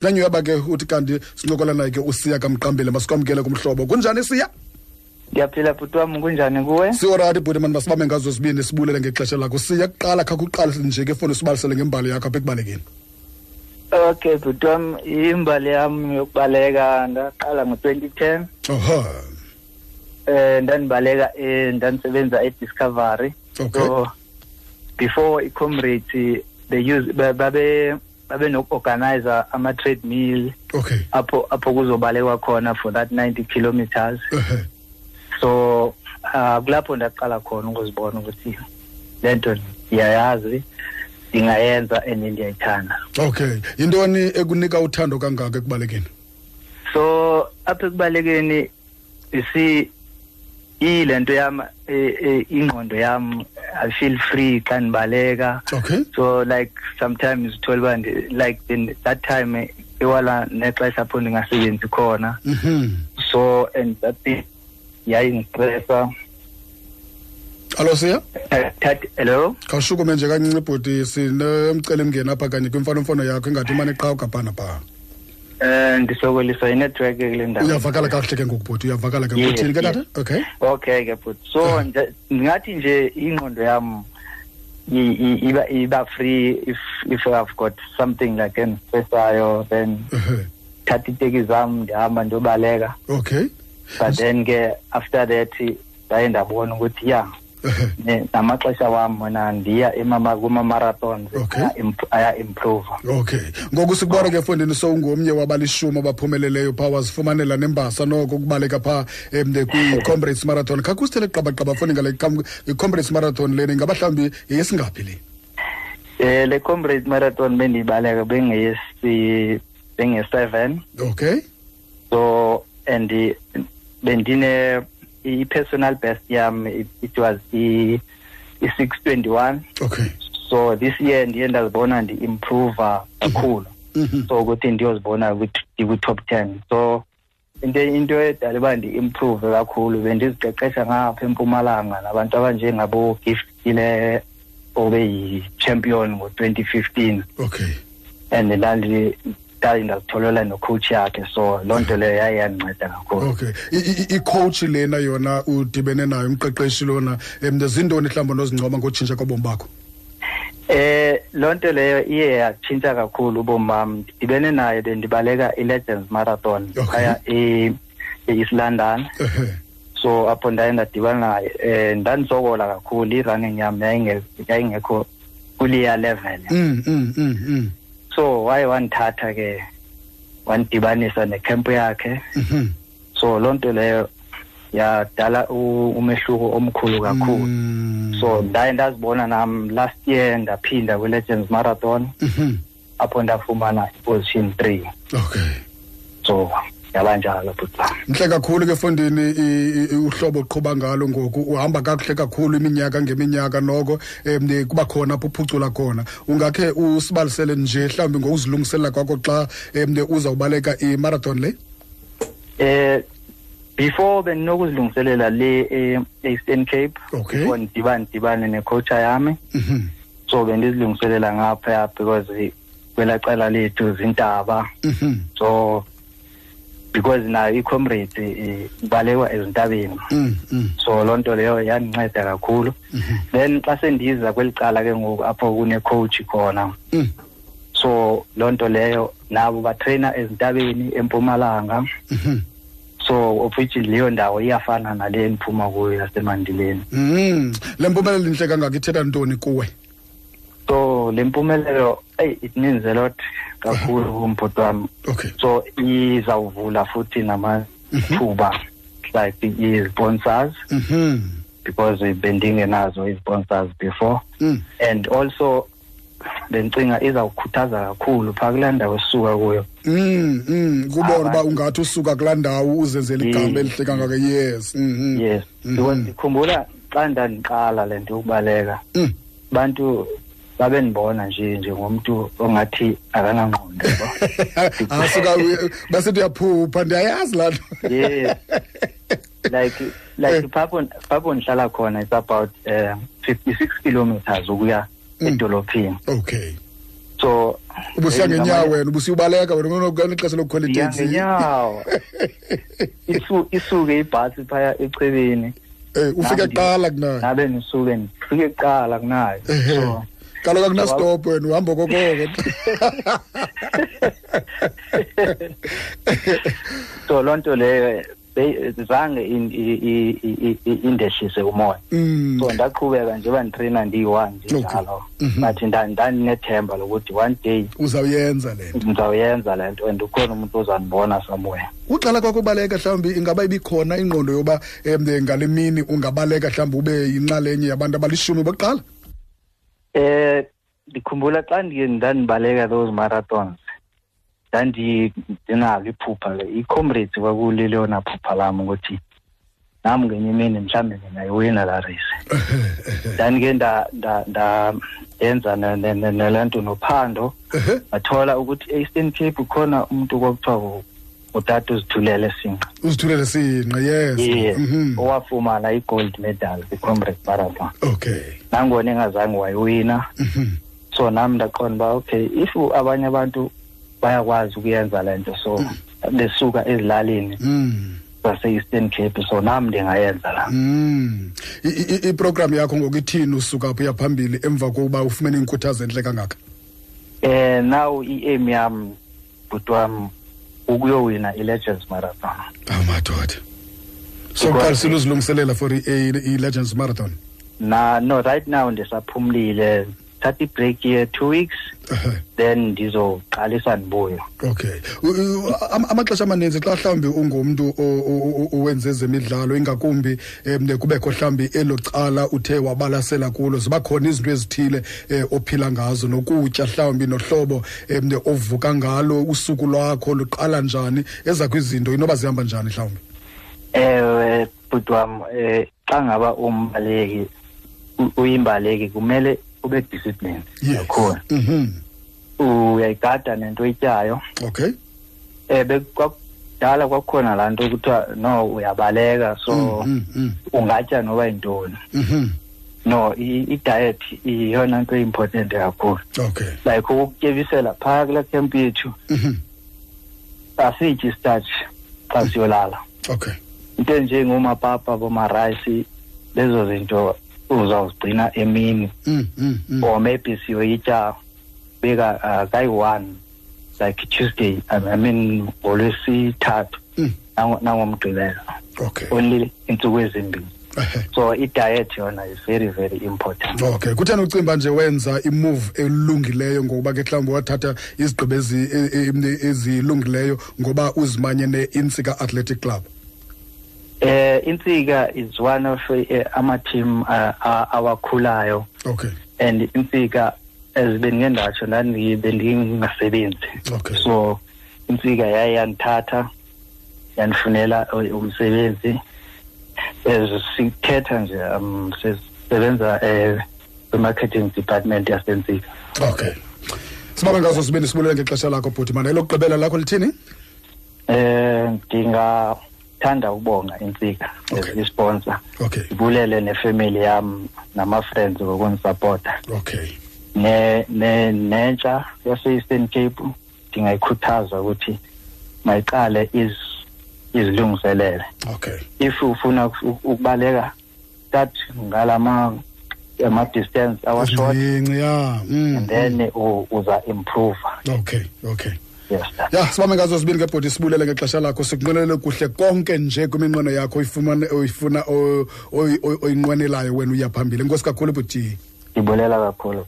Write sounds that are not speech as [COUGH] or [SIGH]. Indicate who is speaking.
Speaker 1: kanyuyaba ke uthi kanti sincokola naye ke usiya kamqambile masikwamkele kumhlobo kunjani siya
Speaker 2: ndiyaphila bhuti wam kunjani kuwe
Speaker 1: siorati bhuti mani masibambe ngazo zibini sibulele ngexesha lakho siya kuqala kha kuqala nje ke funa sibalisele ngembali yakho apha ekubalekeni
Speaker 2: okay bhuti wam imbali yam yokubaleka ndaqala ngo-twenty ten
Speaker 1: oho
Speaker 2: um ndandibaleka um ndandisebenza ediscovery
Speaker 1: Okay.
Speaker 2: so before icomrades they use ba- babe babenoku-organiza ama-trade meal
Speaker 1: okay
Speaker 2: apho apho kuzobalekwa khona for that ninety kilometers
Speaker 1: ehe
Speaker 2: so uh, kulapho ndaqala khona ukuzibona ukuthi le nto ndiyayazi ndingayenza and ndiyayithanda
Speaker 1: okay yintoni ekunika uthando kangaka ekubalekeni
Speaker 2: so apha ekubalekeni isi ile nto yam eh, eh, ingqondo yam i feel free xa ndibaleka
Speaker 1: okay
Speaker 2: so like sometimes uthole uba ndi- like in that time eh, iwala nexesha apho ndingasebenzi khona
Speaker 1: mhm
Speaker 2: so and that thing yayindistressa
Speaker 1: alo siya
Speaker 2: Eh, that- hello
Speaker 1: khawushukume nje kancinci ibhuti sinemcelimngeni apha kanye kwimfanomfono yakho ingathi umane qhawuka phana phaa
Speaker 2: eh ndisokoliswa yinetwork kule ndawo
Speaker 1: uyavakala kakuhle ke ngoku bhuti uyavakala ke
Speaker 2: Yes,
Speaker 1: uthini ke
Speaker 2: yes.
Speaker 1: tata okay
Speaker 2: okay ke but so
Speaker 1: Ah.
Speaker 2: nje- ndingathi nje ingqondo yam i- i- iba iba free if if i've got something like endistressayo then
Speaker 1: Ehe.
Speaker 2: thatha iiteki zam ndihamba ndiyobaleka
Speaker 1: okay
Speaker 2: but then ke after that ndaye ndabona ukuthi ya
Speaker 1: Ehe.
Speaker 2: ne- namaxesha wam mna ndiya emama- kuma-marathons
Speaker 1: Okay.
Speaker 2: ayaimprova
Speaker 1: okay ngoku sikubona ke efondini sowungomnye wabalishumi abaphumeleleyo phaa wazifumanela nembasa noko ukubaleka phaa um kwi-comrades marathon khakusithele qabaqaba fondi ngale qam- i-comrades marathon lena ingaba hlawumbi yeyesingaphi le
Speaker 2: um le comrade marathon bendiyibaleka bengeyesi- benge-seven
Speaker 1: okay
Speaker 2: so and eh, bendine i-personal best yam it, it was i-six twenty-one
Speaker 1: okay
Speaker 2: so this year ndiye ndazibona ndi-improva kakhulu
Speaker 1: Mhm.
Speaker 2: so ukuthi ndiyozibona kwi- ndikwi-top ten so into into edala uba ndi-improve kakhulu bendiziqeqesha ngapha empumalanga nabantu abanjengabo-giftile obeyi-champion ngo-twenty fifteen
Speaker 1: okay
Speaker 2: and ndandi ndaye ndazitholela nocoach yakhe so loo nto leyo yaye yandinceda kakhulu
Speaker 1: okay I- i- icoach lena yona udibene nayo umqeqeshi lona um zintoni mhlawumbi nozincoma ngotshintsha kobomi bakho
Speaker 2: Eh loo nto leyo iye yatshintsha kakhulu ubomi bam ndidibene naye bendibaleka i-legends marathon
Speaker 1: Okay.
Speaker 2: phaya e- e-east london
Speaker 1: Ehe.
Speaker 2: so apho ndaye ndadibana naye um ndandisokola kakhulu i-running yam yayinge- yayingekho kuliya level
Speaker 1: Mm, mm, mm, mm.
Speaker 2: so waye wandithatha ke wandidibanisa necamp yakhe
Speaker 1: Mhm.
Speaker 2: so loo nto leyo yadala u- umehluko omkhulu kakhulu
Speaker 1: Mm.
Speaker 2: so ndaye ndazibona nam last year ndaphinda kwi-legends marathon
Speaker 1: Mhm.
Speaker 2: apho ndafumana iposition three
Speaker 1: okay
Speaker 2: so yabanjalo ah, bhutam
Speaker 1: mhle kakhulu ke fondini i- i- uhlobo oqhuba ngalo ngoku uhamba kakuhle kakhulu iminyaka ngeminyaka noko um kuba khona apho uphucula khona ungakhe usibalisele nje mhlawumbi ngokuzilungiselela kwakho xa um uzawubaleka imarathon le
Speaker 2: eh before bendinokuzilungiselela le eh, e-eastern cape
Speaker 1: Okay.
Speaker 2: before ndidibane ndibane necoacha yami
Speaker 1: Mhm.
Speaker 2: so bendizilungiselela ngaphaya because kwela cala lethu zintaba
Speaker 1: Mhm.
Speaker 2: so because nayo icomrade eh, ibalekwa ezintabeni
Speaker 1: Mm, mm,
Speaker 2: so loo nto leyo yandinceda kakhulu then xa sendiza kweli cala ke ngoku apho kunecoach khona
Speaker 1: mm.
Speaker 2: so loo nto leyo nabo batrayina ezintabeni empumalanga
Speaker 1: Mhm.
Speaker 2: so of which leyo ndawo iyafana nale endiphuma kuyo yasemandileni
Speaker 1: Mm. le mpumelelo intle kangaka ithetha ntoni kuwe
Speaker 2: so le mpumelelo eyi it means a lot kakhulu kumbhuti wam
Speaker 1: okay
Speaker 2: so izawuvula futhi namathuba like i-sponsors
Speaker 1: Mhm.
Speaker 2: because bendingenazo i-sponsors before
Speaker 1: Mm.
Speaker 2: and also bendicinga izawukhuthaza kakhulu phaa kulaa ndawo esisuka kuyo
Speaker 1: Mm, mm, kubona uba
Speaker 2: Abantu.
Speaker 1: ungathi usuka kulaa ndawo uzenzela igama
Speaker 2: Yes.
Speaker 1: elihle kangaka yes mm, mm.
Speaker 2: yes
Speaker 1: Mhm.
Speaker 2: because ndikhumbula xa ndandiqala le nto yokubaleka
Speaker 1: Mm.
Speaker 2: abantu babendibona nje njengomntu ongathi akanangqondo
Speaker 1: [LAUGHS]
Speaker 2: yabo.
Speaker 1: asuka basithi uyaphupha ndiyayazi laa nto
Speaker 2: yes like
Speaker 1: Eh.
Speaker 2: like phapho phapho ndihlala khona it's about um fifty six kilometers ukuya
Speaker 1: Mm.
Speaker 2: edolophini
Speaker 1: [LAUGHS] okay
Speaker 2: so eh,
Speaker 1: ubusiya ngenyawo wena ubusiyubaleka wena kunokukani ixesha lokukhwela iteksi
Speaker 2: ngenyawo Isu- isuke ibhasi phaya ecebeni
Speaker 1: [LAUGHS] Eh, ufike
Speaker 2: Nandi.
Speaker 1: kuqala kunayo
Speaker 2: nabe ndisuke ndifike kuqala kunayo so
Speaker 1: kaloku akunastop wena uhamba
Speaker 2: [LAUGHS]
Speaker 1: kokoko
Speaker 2: so loo nto leyo be- zange in- i- i- i- i- i- indehlise umoya
Speaker 1: [LAUGHS] Mm.
Speaker 2: so ndaqhubeka njeba nditrina ndiyi-one ndinjalo but nda- ndandinethemba lokuthi one day
Speaker 1: uzawuyenza le nto
Speaker 2: ndizawuyenza le nto and ukhona umuntu ozandibona somewhere
Speaker 1: uqala kwakho ubaleka mhlawumbi ingaba ibikhona ingqondo yoba um ngale mini ungabaleka mhlawumbi ube yinxalenye yabantu abalishumi bokuqala [LAUGHS]
Speaker 2: Eh ndikhumbula xa ndiye ndandibaleka those marathons ndandinalo iphupha le i-comrades kwakulileyona phupha lam ukuthi nam ngenye imini mhlawumbi ndingayiwina laa race ndandike nda- nda- nda- ndenza ne- ne- ne- nele nto nophando
Speaker 1: Ehhe.
Speaker 2: wathola ukuthi e-eastern cape khona umntu kwakuthiwa ngu- ngutata uzithulele sinqa
Speaker 1: uzithulele sinqa yes
Speaker 2: ye
Speaker 1: Mhm.
Speaker 2: owafumana i-gold medal kwi-comrades marathon
Speaker 1: okay
Speaker 2: nangona engazange wayiwina
Speaker 1: Mhm.
Speaker 2: so nam ndaqonda uba okay if abanye abantu bayakwazi ukuyenza le nto so besuka ezilalini
Speaker 1: Mm.
Speaker 2: zase-eastern cape so nam ndingayenza la
Speaker 1: Mm. I- i- i- iprogram yakho ngoku ithini usuka phi uyaphambili emva kokuba ufumene inkuthazo entle kangaka
Speaker 2: um now i-aim yam bhuti wam ukuyowina i-legends marathon
Speaker 1: awu madoda sokuqalisile uzilungiselela for i- i-legends marathon
Speaker 2: na no right now ndisaphumlile thatha ibreak ye-two weeks
Speaker 1: Ehhe.
Speaker 2: then ndizoqalisa ndibuyo
Speaker 1: okay U- u- am- amaxesha amaninzi xa mhlawumbi ungumntu o- o- o- owenze ezemidlalo ingakumbi um kubekho mhlawumbi elo cala uthe wabalasela kulo ziba khona izinto ezithile um ophila ngazo nokutya mhlawumbi nohlobo um ovuka ngalo usuku lwakho luqala njani ezakho izinto inoba zihamba njani mhlawumbi
Speaker 2: ewe bhuti wam um xa ngaba umbaleki u- uyimbaleki kumele ube disciplined
Speaker 1: yes
Speaker 2: kakhulu
Speaker 1: Mhm.
Speaker 2: uyayigada nento ityayo
Speaker 1: okay
Speaker 2: um bekudala kwakhona laa nto kuthiwa no uyabaleka so
Speaker 1: Mm, mm,
Speaker 2: ungatya noba yintoni
Speaker 1: mm, mhm.
Speaker 2: no i- i-diet iyeyona nto important kakhulu
Speaker 1: okay
Speaker 2: like ukukutyebisela phaa kulaa camp yethu
Speaker 1: Mhm.
Speaker 2: asityi istatshi xa siyolala
Speaker 1: okay
Speaker 2: into enjengoomapapa bomarayisi lezo zinto uzawuzigcina emini
Speaker 1: Mm, mm, mm.
Speaker 2: or maybe siyoyitya beka uh, kayi-one like tuesday i I mean ngolwesithathu
Speaker 1: Mm.
Speaker 2: nango- nangomgqibelo
Speaker 1: okay
Speaker 2: only iintsuku ezimbini
Speaker 1: Ehhe.
Speaker 2: so i-diet yona is very very important
Speaker 1: okay kutheni ucimba nje wenza imove elungileyo ngokuba ke mhlawumbi wathatha izigqibo ezi- e- e- ezilungileyo ngoba uzimanye ne-insika athletic club
Speaker 2: eh intsika is one of eh, amateam ah, ah, awakhulayo
Speaker 1: okay
Speaker 2: and intsika as bendingendatsho ndandi- bendingasebenzi
Speaker 1: okay
Speaker 2: so intsika yaye yandithatha yandifunela u- umsebenzi as sithetha nje um sisebenza eh kwi-marketing department yasentsika
Speaker 1: okay sibambe ngazo sibini sibulele ngexesha lakho bhuti mane elokugqibela lakho lithini
Speaker 2: eh ndingathanda ukubonga intsika as
Speaker 1: Okay.
Speaker 2: isponsor
Speaker 1: okay
Speaker 2: ndibulele nefemeli yam nama-friends ngokundisapota
Speaker 1: okay
Speaker 2: ne ne- nentsha yase-eastern cape ndingayikhuthaza ukuthi mayiqale iz- izilungiselele
Speaker 1: okay
Speaker 2: if ufuna uk- ukubaleka start ngalama ama distance awashort
Speaker 1: Zincinci, ya mm,
Speaker 2: and then u- uza improve
Speaker 1: okay okay
Speaker 2: yes
Speaker 1: ya sibambe ngazo zibini ngebhodi sibulele ngexesha lakho sikunqwenele kuhle konke nje kwiminqweno yakho oyifumane- oyifuna o- oyi- oyi- oyinqwenelayo wena uya phambili enkosi kakhulu bhuti
Speaker 2: ndibulela kakhulu